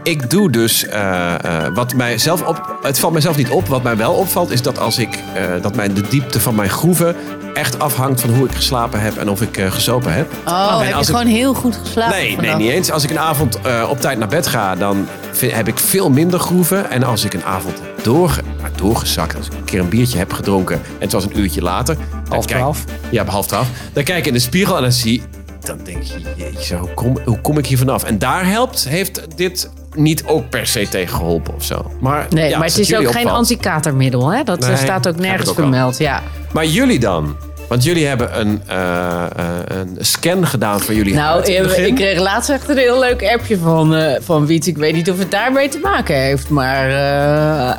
ik doe dus eh, eh, wat mij zelf op. Het valt mijzelf niet op. Wat mij wel opvalt is dat als ik eh, dat mijn, de diepte van mijn groeven echt afhangt van hoe ik geslapen heb en of ik eh, gezopen heb. Oh, en heb je als ik- gewoon heel goed geslapen Nee, nee, vannacht? niet eens. Als ik een avond eh, op tijd naar bed ga, dan vi- heb ik veel minder groeven. En als ik een avond door, maar doorgezakt, als ik een keer een biertje heb gedronken en het was een uurtje later. dan Half kijk- twaalf. Ja, bij half twaalf. Dan kijk ik in de spiegel en dan zie dan denk je, jeetje, hoe kom, hoe kom ik hier vanaf? En daar helpt, heeft dit niet ook per se tegen geholpen of zo. Maar, Nee, ja, maar als het is ook jullie geen opvalt. anti-katermiddel. Hè? Dat eh, Nee, staat ook heb nergens ik ook al. vermeld. Ja. Maar jullie dan? Want jullie hebben een, eh, eh, een scan gedaan van jullie Nou, huid in het eh, begin. ik kreeg laatst echt een heel leuk appje van, eh van Wiet. Ik weet niet of het daarmee te maken heeft, maar... eh,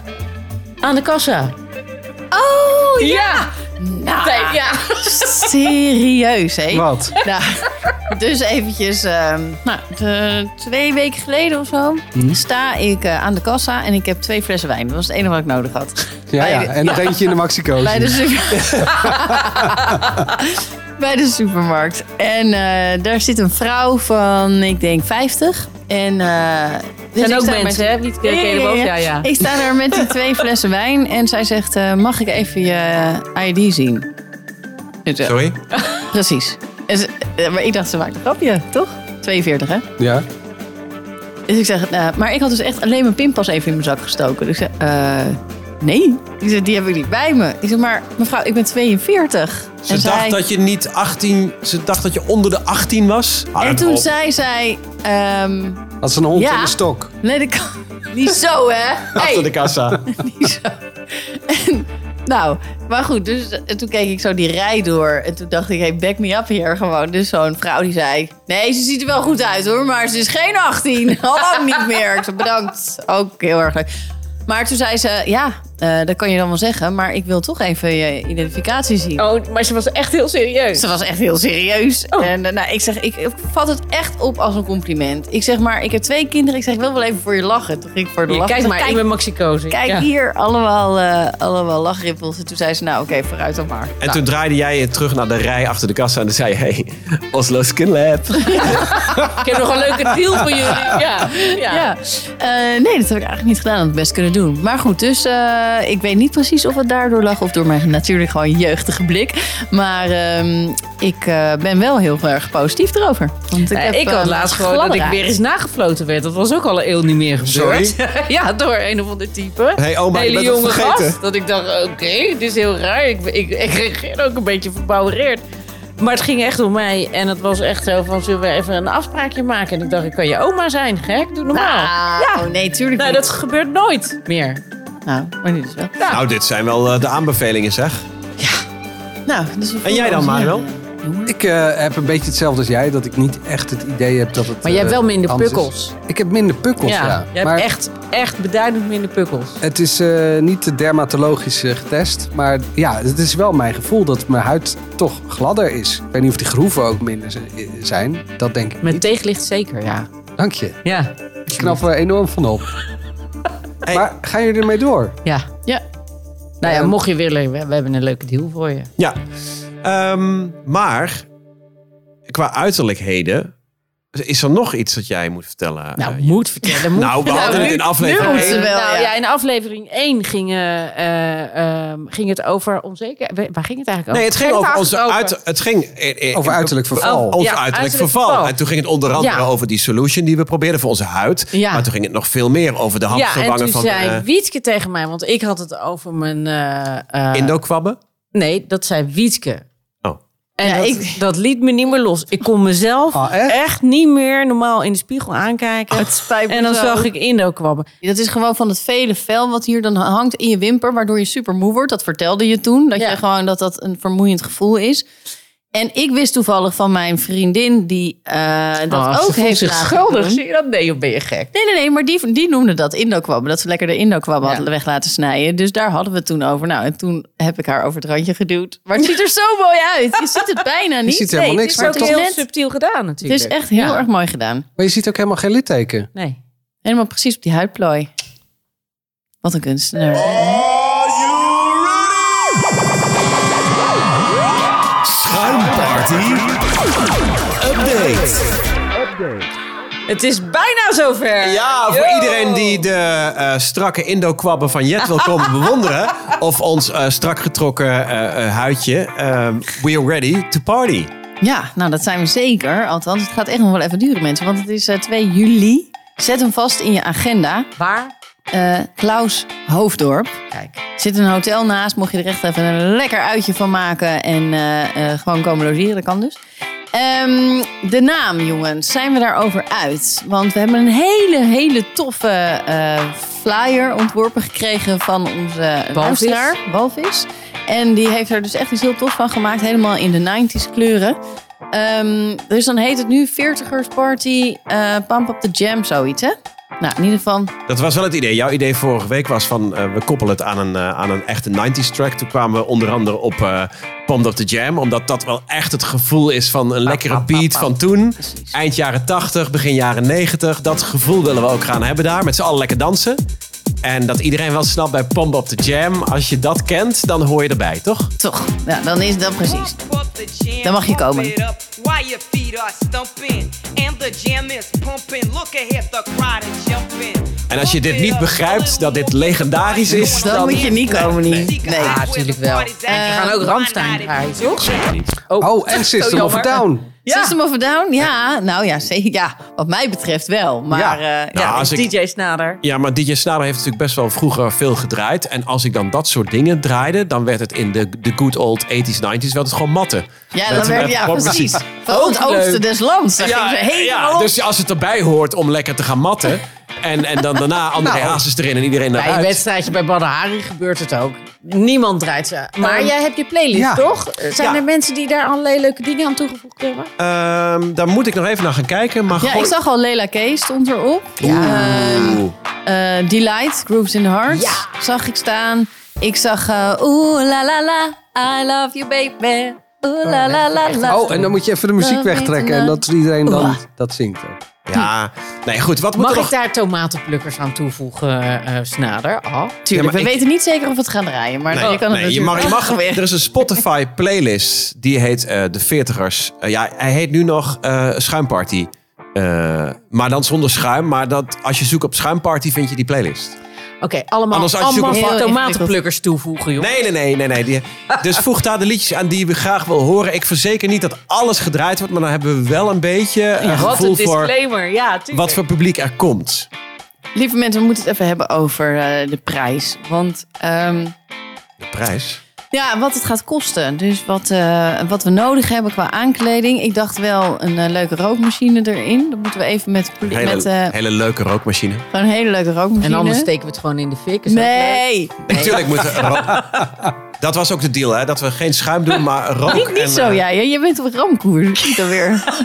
aan de kassa. Oh, Ja! nou, Nee, ja. serieus, hè? Wat? Nou, dus eventjes, ehm, nou, de- twee weken geleden of zo, sta ik eh, aan de kassa en ik heb twee flessen wijn. Dat was het enige wat ik nodig had. Ja, ja. Bij de- En nog eentje in de Maxico's. Bij de, super... bij de supermarkt. En eh, daar zit een vrouw van, ik denk, 50. En, eh dus zijn ik ook sta mensen, met- hè? Wiet, ken je hem ook? Ja, ja. Ik sta daar met die twee flessen wijn en zij zegt, eh, mag ik even je ID zien? Ik zeg, Sorry? Precies. En ze- eh, maar ik dacht, ze maakt een grapje, toch? 42, hè? Ja. Dus ik zeg, nou, maar ik had dus echt alleen mijn pinpas even in mijn zak gestoken. Dus ik zei, eh, nee. Ik zeg, die heb ik niet bij me. Ik zeg, maar mevrouw, ik ben 42. Ze dacht dat je niet 18, ze dacht dat je onder de 18 was. Ah, en dat toen klopt. zei zij, ehm, Als een hond Ja. in de stok. nee, dat kan niet zo, hè? achter de Hey, kassa. niet zo. En, nou, maar goed, dus eh, toen keek ik zo die rij door. En toen dacht ik, hey, back me up hier gewoon. Dus zo'n vrouw die zei, nee, ze ziet er wel goed uit hoor, maar ze is geen 18. Al lang niet meer. Ik zei, bedankt. Ook heel erg leuk. Maar toen zei ze, ja, eh, dat kan je dan wel zeggen, maar ik wil toch even je identificatie zien. Oh, maar ze was echt heel serieus. Ze was echt heel serieus. En eh, nou, ik zeg, ik ik vat het echt op als een compliment. Ik zeg maar, ik heb twee kinderen. Ik zeg, ik wil wel even voor je lachen. Toen ging ik voor de Ja, lach. kijk Ik maar, zeg, ik ben Maxi Kozen. Kijk Ja. hier, allemaal, eh, allemaal lachrippels. En toen zei ze, nou oké, vooruit dan maar. En toen draaide jij je terug naar de rij achter de kassa en dan zei je... Hey, Oslo Skin Lab. Ik heb nog een leuke deal voor jullie. Ja, ja. Ja. Eh, nee, dat heb ik eigenlijk niet gedaan. Dat had ik best kunnen doen. Maar goed, dus eh, ik weet niet precies of het daardoor lag... of door mijn natuurlijk gewoon jeugdige blik. Maar ehm, ik eh, ben wel heel erg positief erover. Want ik, Nou, heb, ik eh, had laatst gewoon dat ik gladderij. weer eens nagefloten werd. Dat was ook al een eeuw niet meer gebeurd. ja, door een of ander type. Hé hey, oma, ik Hele ben het jonge vergeten. gast. Dat ik dacht, oké, dit is heel raar. Ik, ik, ik reageerde ook een beetje verbouwereerd. Maar het ging echt om mij. En het was echt zo van, zullen we even een afspraakje maken? En ik dacht, ik kan je oma zijn, gek. Doe normaal. Nou, ja. nee, tuurlijk Nou, niet. dat gebeurt nooit meer. Nou, maar nu dus wel. Nou, dit zijn wel eh, de aanbevelingen, zeg. Nou, dus we En jij dan, voelen ons Manuel? Ik eh, heb een beetje hetzelfde als jij, dat ik niet echt het idee heb dat het. Maar jij hebt eh, wel minder anders is. pukkels. Ik heb minder pukkels, ja. Ja, je maar hebt echt, echt beduidend minder pukkels. Het is eh, niet dermatologisch eh, getest, maar ja, het is wel mijn gevoel dat mijn huid toch gladder is. Ik weet niet of die groeven ook minder z- zijn. Dat denk ik. Met tegenlicht zeker, ja. Dank je. Ja, Ik knap er enorm van op. Maar gaan jullie ermee door? ja. Ja. Nou ja, Ehm. mocht je willen, we, we hebben een leuke deal voor je. Ja. Ehm, maar qua uiterlijkheden is er nog iets dat jij moet vertellen. Nou, Eh, moet vertellen. Moet nou we hadden het in aflevering nu- één. moeten we wel, nou, ja. ja. in aflevering 1 ging, eh, eh, ehm, ging het over onzeker. we- Waar ging het eigenlijk over? Nee, het ging over onze Over. uit, het ging eh, eh, Over uiterlijk verval. Ons Oh, Ja, uiterlijk uiterlijk verval. verval. En toen ging het onder andere Ja. over die solution die we probeerden voor onze huid. Ja. Maar toen ging het nog veel meer over de Ja, en hamsterwangen toen van zei eh, Wietke tegen mij, want ik had het over mijn... eh, eh, Indo-kwabben. nee, dat zei Wietke. Oh. En Ja, dat, ik- dat liet me niet meer los. Ik kon mezelf Ah, echt? echt? niet meer normaal in de spiegel aankijken. Het spijt me en dan zo. zag ik Indo kwabben. Dat is gewoon van het vele vel wat hier dan hangt in je wimper, waardoor je super moe wordt. Dat vertelde je toen, dat Ja. je gewoon dat dat een vermoeiend gevoel is. En ik wist toevallig van mijn vriendin die eh, dat Oh, ze ook voelt heeft zich laten schuldig. doen. Zie je dat? Nee, joh, ben je gek. Nee, nee, nee, maar die, die noemde dat Indokwabben. Dat ze lekker de Indokwabben Ja. hadden weg laten snijden. Dus daar hadden we het toen over. Nou, en toen heb ik haar over het randje geduwd. Maar het ziet er zo mooi uit. Je ziet het bijna niet. ziet er helemaal Nee, niks, Het Maar is, het ook is heel heel net- subtiel gedaan het natuurlijk. is echt heel Ja. erg mooi gedaan. Maar je ziet ook helemaal geen litteken. Nee. Helemaal precies op die huidplooi. Wat een kunstenaar. Schuimparty. Update. Het is bijna zover. Ja, voor Yo. iedereen die de eh, strakke Indo-kwabben van Jet wil komen bewonderen. Of ons eh, strak getrokken eh, eh, huidje. ehm, we are ready to party. Ja, nou dat zijn we zeker. Althans, het gaat echt nog wel even duren, mensen. Want het is eh, 2 juli. Zet hem vast in je agenda. Waar? Eh, Klaus Hoofddorp. Kijk. Zit een hotel naast. Mocht je er echt even een lekker uitje van maken. En eh, eh, gewoon komen logeren. Dat kan dus. Ehm, de naam, jongens. Zijn we daarover uit? Want we hebben een hele, hele toffe eh, flyer ontworpen gekregen van onze Walvis. luisteraar. Walvis. En die heeft er dus echt iets heel tof van gemaakt. Helemaal in de 90s kleuren. Ehm, dus dan heet het nu 40ers Party. eh, Pump up the Jam, zoiets hè? Nou, in ieder geval Dat was wel het idee. Jouw idee vorige week was van eh, we koppelen het aan een, eh, aan een echte 90s track. Toen kwamen we onder andere op eh Pond of the Jam. Omdat dat wel echt het gevoel is van een lekkere beat van toen. Eind jaren 80, begin jaren 90. Dat gevoel willen we ook gaan hebben daar. Met z'n allen lekker dansen. En dat iedereen wel snapt bij Pump Up The Jam. Als je dat kent, dan hoor je erbij, toch? toch. Ja, dan is dat precies. Dan mag je komen. En als je dit niet begrijpt, dat dit legendarisch is, dan, dan- moet je niet komen, Nee. niet. Nee. Ah, natuurlijk wel. We gaan ook Ramstein draaien, toch? Oh, en zo System of jammer. a Down. Ja. System of a Down? Ja, nou ja, zeker. Ja, wat mij betreft wel. Maar eh, ja, Nou, als ik- DJ Snader. Ja, maar DJ Snader heeft natuurlijk best wel vroeger veel gedraaid. En als ik dan dat soort dingen draaide, dan werd het in de, de good old 80s, 90s werd het gewoon matten. ja, Met- dat werd, met ja progressief. precies. Van Ook het leuk. oosten des lands. Daar Ja, eh, gingen ze helemaal ja, op. dus als het erbij hoort om lekker te gaan matten, En, en dan daarna André Hazes erin en iedereen naar Bij een uit. wedstrijdje bij Badahari gebeurt het ook. Niemand draait ze. Maar jij hebt je playlist, ja. toch? Ehm, Zijn Ja. er mensen die daar allerlei leuke dingen aan toegevoegd hebben? Ehm, daar moet ik nog even naar gaan kijken. Maar Ja, gewoon- ik zag al Leila Kees stond erop. Ehm, Oeh. eh, Delight, Grooves in the Heart, Ja. zag ik staan. Ik zag eh Oeh la la la, I love you baby. Oeh la la la la. eh, Oh, en dan moet je even de muziek Love me wegtrekken en dat iedereen Oh. dan dat zingt. ook. Ja, nee goed. Wat moet Mag er ik nog... daar tomatenplukkers aan toevoegen, eh, Snader? Ah. Tuurlijk, Ja, maar we weten niet zeker of we het gaan draaien, maar je kan het nee, je mag, natuurlijk je mag, wel. er is een Spotify playlist die heet eh, De Veertigers. Eh, ja, hij heet nu nog eh, Schuimparty. Eh, maar dan zonder schuim. Maar dat, als je zoekt op Schuimparty vind je die playlist. Oké, allemaal, Anders als je allemaal zoekt- Heel tomatenplukkers toevoegen, joh. Nee, nee, nee. nee, nee. Die, dus voeg daar de liedjes aan die we graag wil horen. Ik verzeker niet dat alles gedraaid wordt. Maar dan hebben we wel een beetje een Wat een gevoel voor disclaimer, ja, tuurlijk. wat voor publiek er komt. Lieve mensen, we moeten het even hebben over eh, de prijs. Want ehm, De prijs. ja, wat het gaat kosten. Dus wat, eh, wat we nodig hebben qua aankleding. Ik dacht wel een eh, leuke rookmachine erin. Dat moeten we even met... poli- Hele, met eh, hele leuke rookmachine. Gewoon een hele leuke rookmachine. En anders steken we het gewoon in de fik. is ook leuk. Nee, Natuurlijk moeten we rook- Dat was ook de deal, hè? Dat we geen schuim doen, maar rook. niet, niet en, zo. eh, Ja, je, je bent op ramkoers. Ik zie het alweer.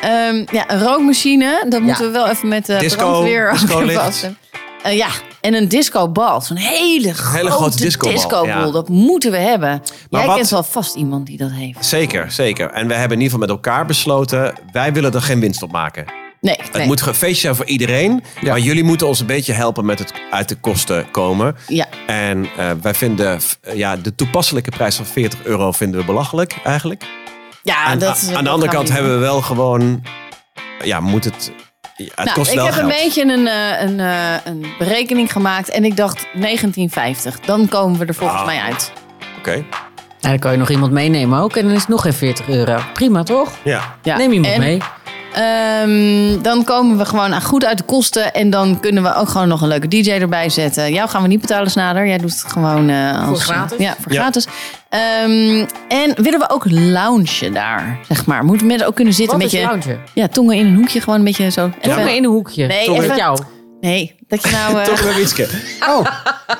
Ehm, ja, een rookmachine. Dat moeten we wel even met de Disco, brandweer ook discolicht. even afstemmen. Eh, ja, en een discobal. Zo'n hele, hele grote discobal, discobal. ja. Dat moeten we hebben. Jij wat- kent wel vast iemand die dat heeft. Zeker, zeker. En we hebben in ieder geval met elkaar besloten... wij willen er geen winst op maken. Nee, nee. Het moet een feestje zijn voor iedereen. Ja. Maar jullie moeten ons een beetje helpen met het uit de kosten komen. Ja. En eh, wij vinden f- eh, ja, de toepasselijke prijs van 40 euro vinden we belachelijk eigenlijk. ja aan, Ah, dat is- aan dat de andere gaan kant we niet hebben we wel gewoon... Ja, moet het... ja, het Nou, kost ik wel heb geld. een beetje een, eh, een, eh, een berekening gemaakt. En ik dacht 1950. Dan komen we er volgens Ah. mij uit. Oké, En Nou, dan kan je nog iemand meenemen ook. En dan is het nog geen 40 euro. Prima, toch? ja. Ja. Neem iemand En- mee. Ehm, dan komen we gewoon aan- goed uit de kosten. En dan kunnen we ook gewoon nog een leuke DJ erbij zetten. Jou gaan we niet betalen, Snader. Jij doet het gewoon eh, als... gratis? Ja, voor Ja. gratis. Ehm, en willen we ook loungen daar, zeg maar. Moeten mensen ook kunnen zitten Wat met is je... lounge? Ja, tongen in een hoekje, gewoon een beetje zo. Toch Even- maar in een hoekje. Nee, Toch even- met jou. Nee, dat je nou... eh, Toch weer Wietske. Oh,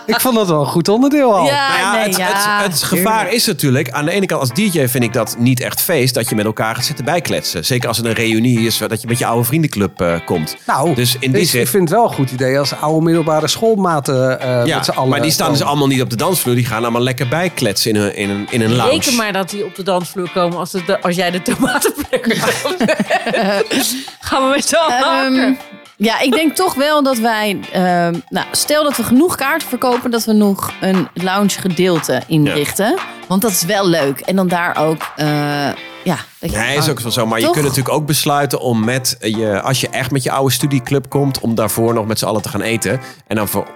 ik vond dat wel een goed onderdeel al. ja, Nou ja, Ah, nee, het, ja. het, het gevaar is natuurlijk, aan de ene kant als DJ vind ik dat niet echt feest, dat je met elkaar gaat zitten bijkletsen. Zeker als het een reunie is, dat je met je oude vriendenclub eh, komt. Nou, dus in die ik, ik zin. vind het wel een goed idee als oude middelbare schoolmaten eh met z'n Ja, allen. maar die staan dus komen. allemaal niet op de dansvloer, die gaan allemaal lekker bijkletsen in een, in een, in een lounge. Reken maar dat die op de dansvloer komen als, het de- als jij de tomatenplukker Gaan we met z'n allen Ehm, hakken? ja, ik denk toch wel dat wij... ehm, nou, stel dat we genoeg kaarten verkopen... dat we nog een lounge gedeelte inrichten. Want dat is wel leuk. En dan daar ook... eh, ja, dat je Nee, gewoon- is ook wel zo. Maar je Ah, Toch? kunt natuurlijk ook besluiten om met eh, je, als je echt met je oude studieclub komt, om daarvoor nog met z'n allen te gaan eten. En dan voor,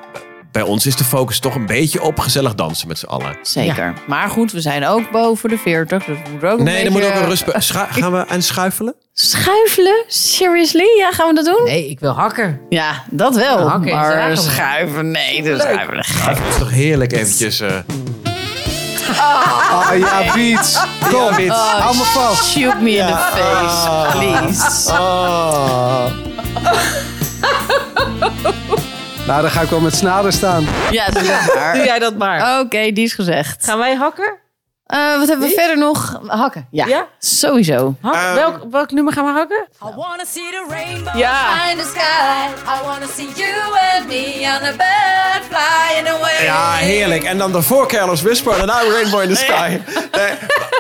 bij ons is de focus toch een beetje op gezellig dansen met z'n allen. Zeker. Maar goed, we zijn ook boven de 40. Dus we moeten ook een Nee, dan moet beetje- eh, ook een rust. schu- Gaan we aan schuifelen? Schuifelen? Seriously? Ja, gaan we dat doen? Nou, Nee, ik wil hakken. Ja, dat wel. Ja, oké, is er maar eigenlijk wel. schuiven? Nee, dat schuiven. Het is toch heerlijk eventjes. eh, Ah ja, beats. Kom, hou me vast. Shoot me in the face, please. Oh, Ah. nou, dan ga ik wel met snaden staan. Ja, dat is Doe waar. jij dat maar. Oké, die is gezegd. Gaan wij hakken? Eh, wat hebben we verder nog? Hakken. Ja, Ja? sowieso. Hakken? Ehm. welk, welk nummer gaan we hakken? I wanna see the rainbow Ja. in the sky. I wanna see you and me on a bird flying away. Ja, heerlijk. En dan daarvoor Carlos Whisper en daarna Rainbow in the Sky. Eh,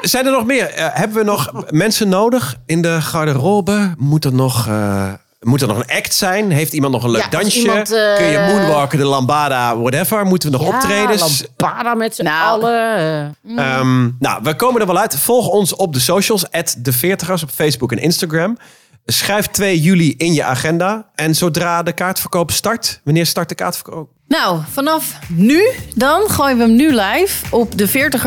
zijn er nog meer? Eh, hebben we nog mensen nodig in de garderobe? Moet er nog... eh, moet er nog een act zijn? Heeft iemand nog een leuk Ja, als dansje? iemand, eh, Kun je moonwalken, de lambada, whatever? Moeten we nog optredens? Lampada met z'n Nou. allen. eh. Ehm, nou, we komen er wel uit. Volg ons op de socials, at de Veertigers op Facebook en Instagram. Schrijf 2 juli in je agenda. En zodra de kaartverkoop start, wanneer start de kaartverkoop? Nou, vanaf nu dan gooien we hem nu live op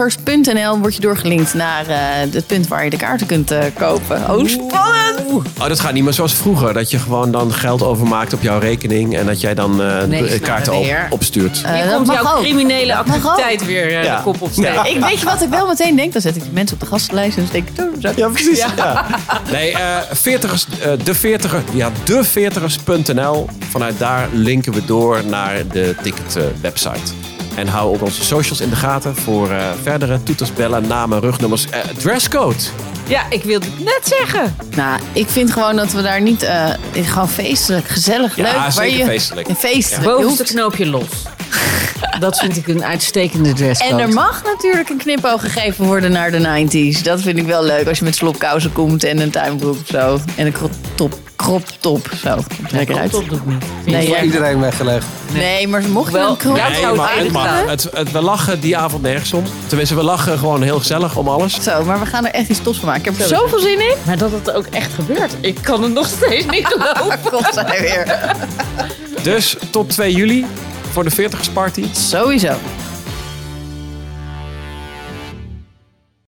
deveertigers.nl. Word je doorgelinkt naar eh, het punt waar je de kaarten kunt eh, kopen. Oh, spannend! Oh, dat gaat niet meer zoals vroeger. Dat je gewoon dan geld overmaakt op jouw rekening. En dat jij dan eh, Nee, de- de kaarten op- weer. opstuurt. Eh, Hier dat komt mag jouw ook. criminele mag ook. activiteit weer eh, Ja. de kop opsteken. Ik weet je wat ik wel meteen denk? Dan zet ik die mensen op de gastenlijst en dan denk ik... "Doe, zo." Ja, precies. Ja. Nee, eh, 40ers, eh, de 40 ja, deveertigers.nl. Vanuit daar linken we door naar de ticket eh, website. En hou ook onze socials in de gaten voor eh, verdere toeters, bellen, namen, rugnummers, eh, dresscode. Ja, ik wilde het net zeggen. Nou, ik vind gewoon dat we daar niet... eh, gewoon feestelijk, gezellig, Ja, leuk. waar zeker je, feestelijk. Ja, feestelijk. Je Bovenste hoeft- knoopje los. Dat vind ik een uitstekende dresscode. En er mag natuurlijk een knipoog gegeven worden naar de 90s. Dat vind ik wel leuk als je met slopkousen komt en een tuinbroek of zo. En een crop top. Crop top. Zo. Komt er lekker uit. Top doet niet. Nee, Voor ja. iedereen weggelegd. nee, maar mocht je Wel, een crop ja, top zou het het eigenlijk mag. wel. Het, het- we lachen die avond nergens om. Tenminste, we lachen gewoon heel gezellig om alles. Zo, maar we gaan er echt iets tofs van maken. Ik heb er Zo. zoveel zin in. Maar dat het ook echt gebeurt. Ik kan het nog steeds niet geloven. Komt zij weer. Dus tot 2 juli voor de 40ers party. Sowieso.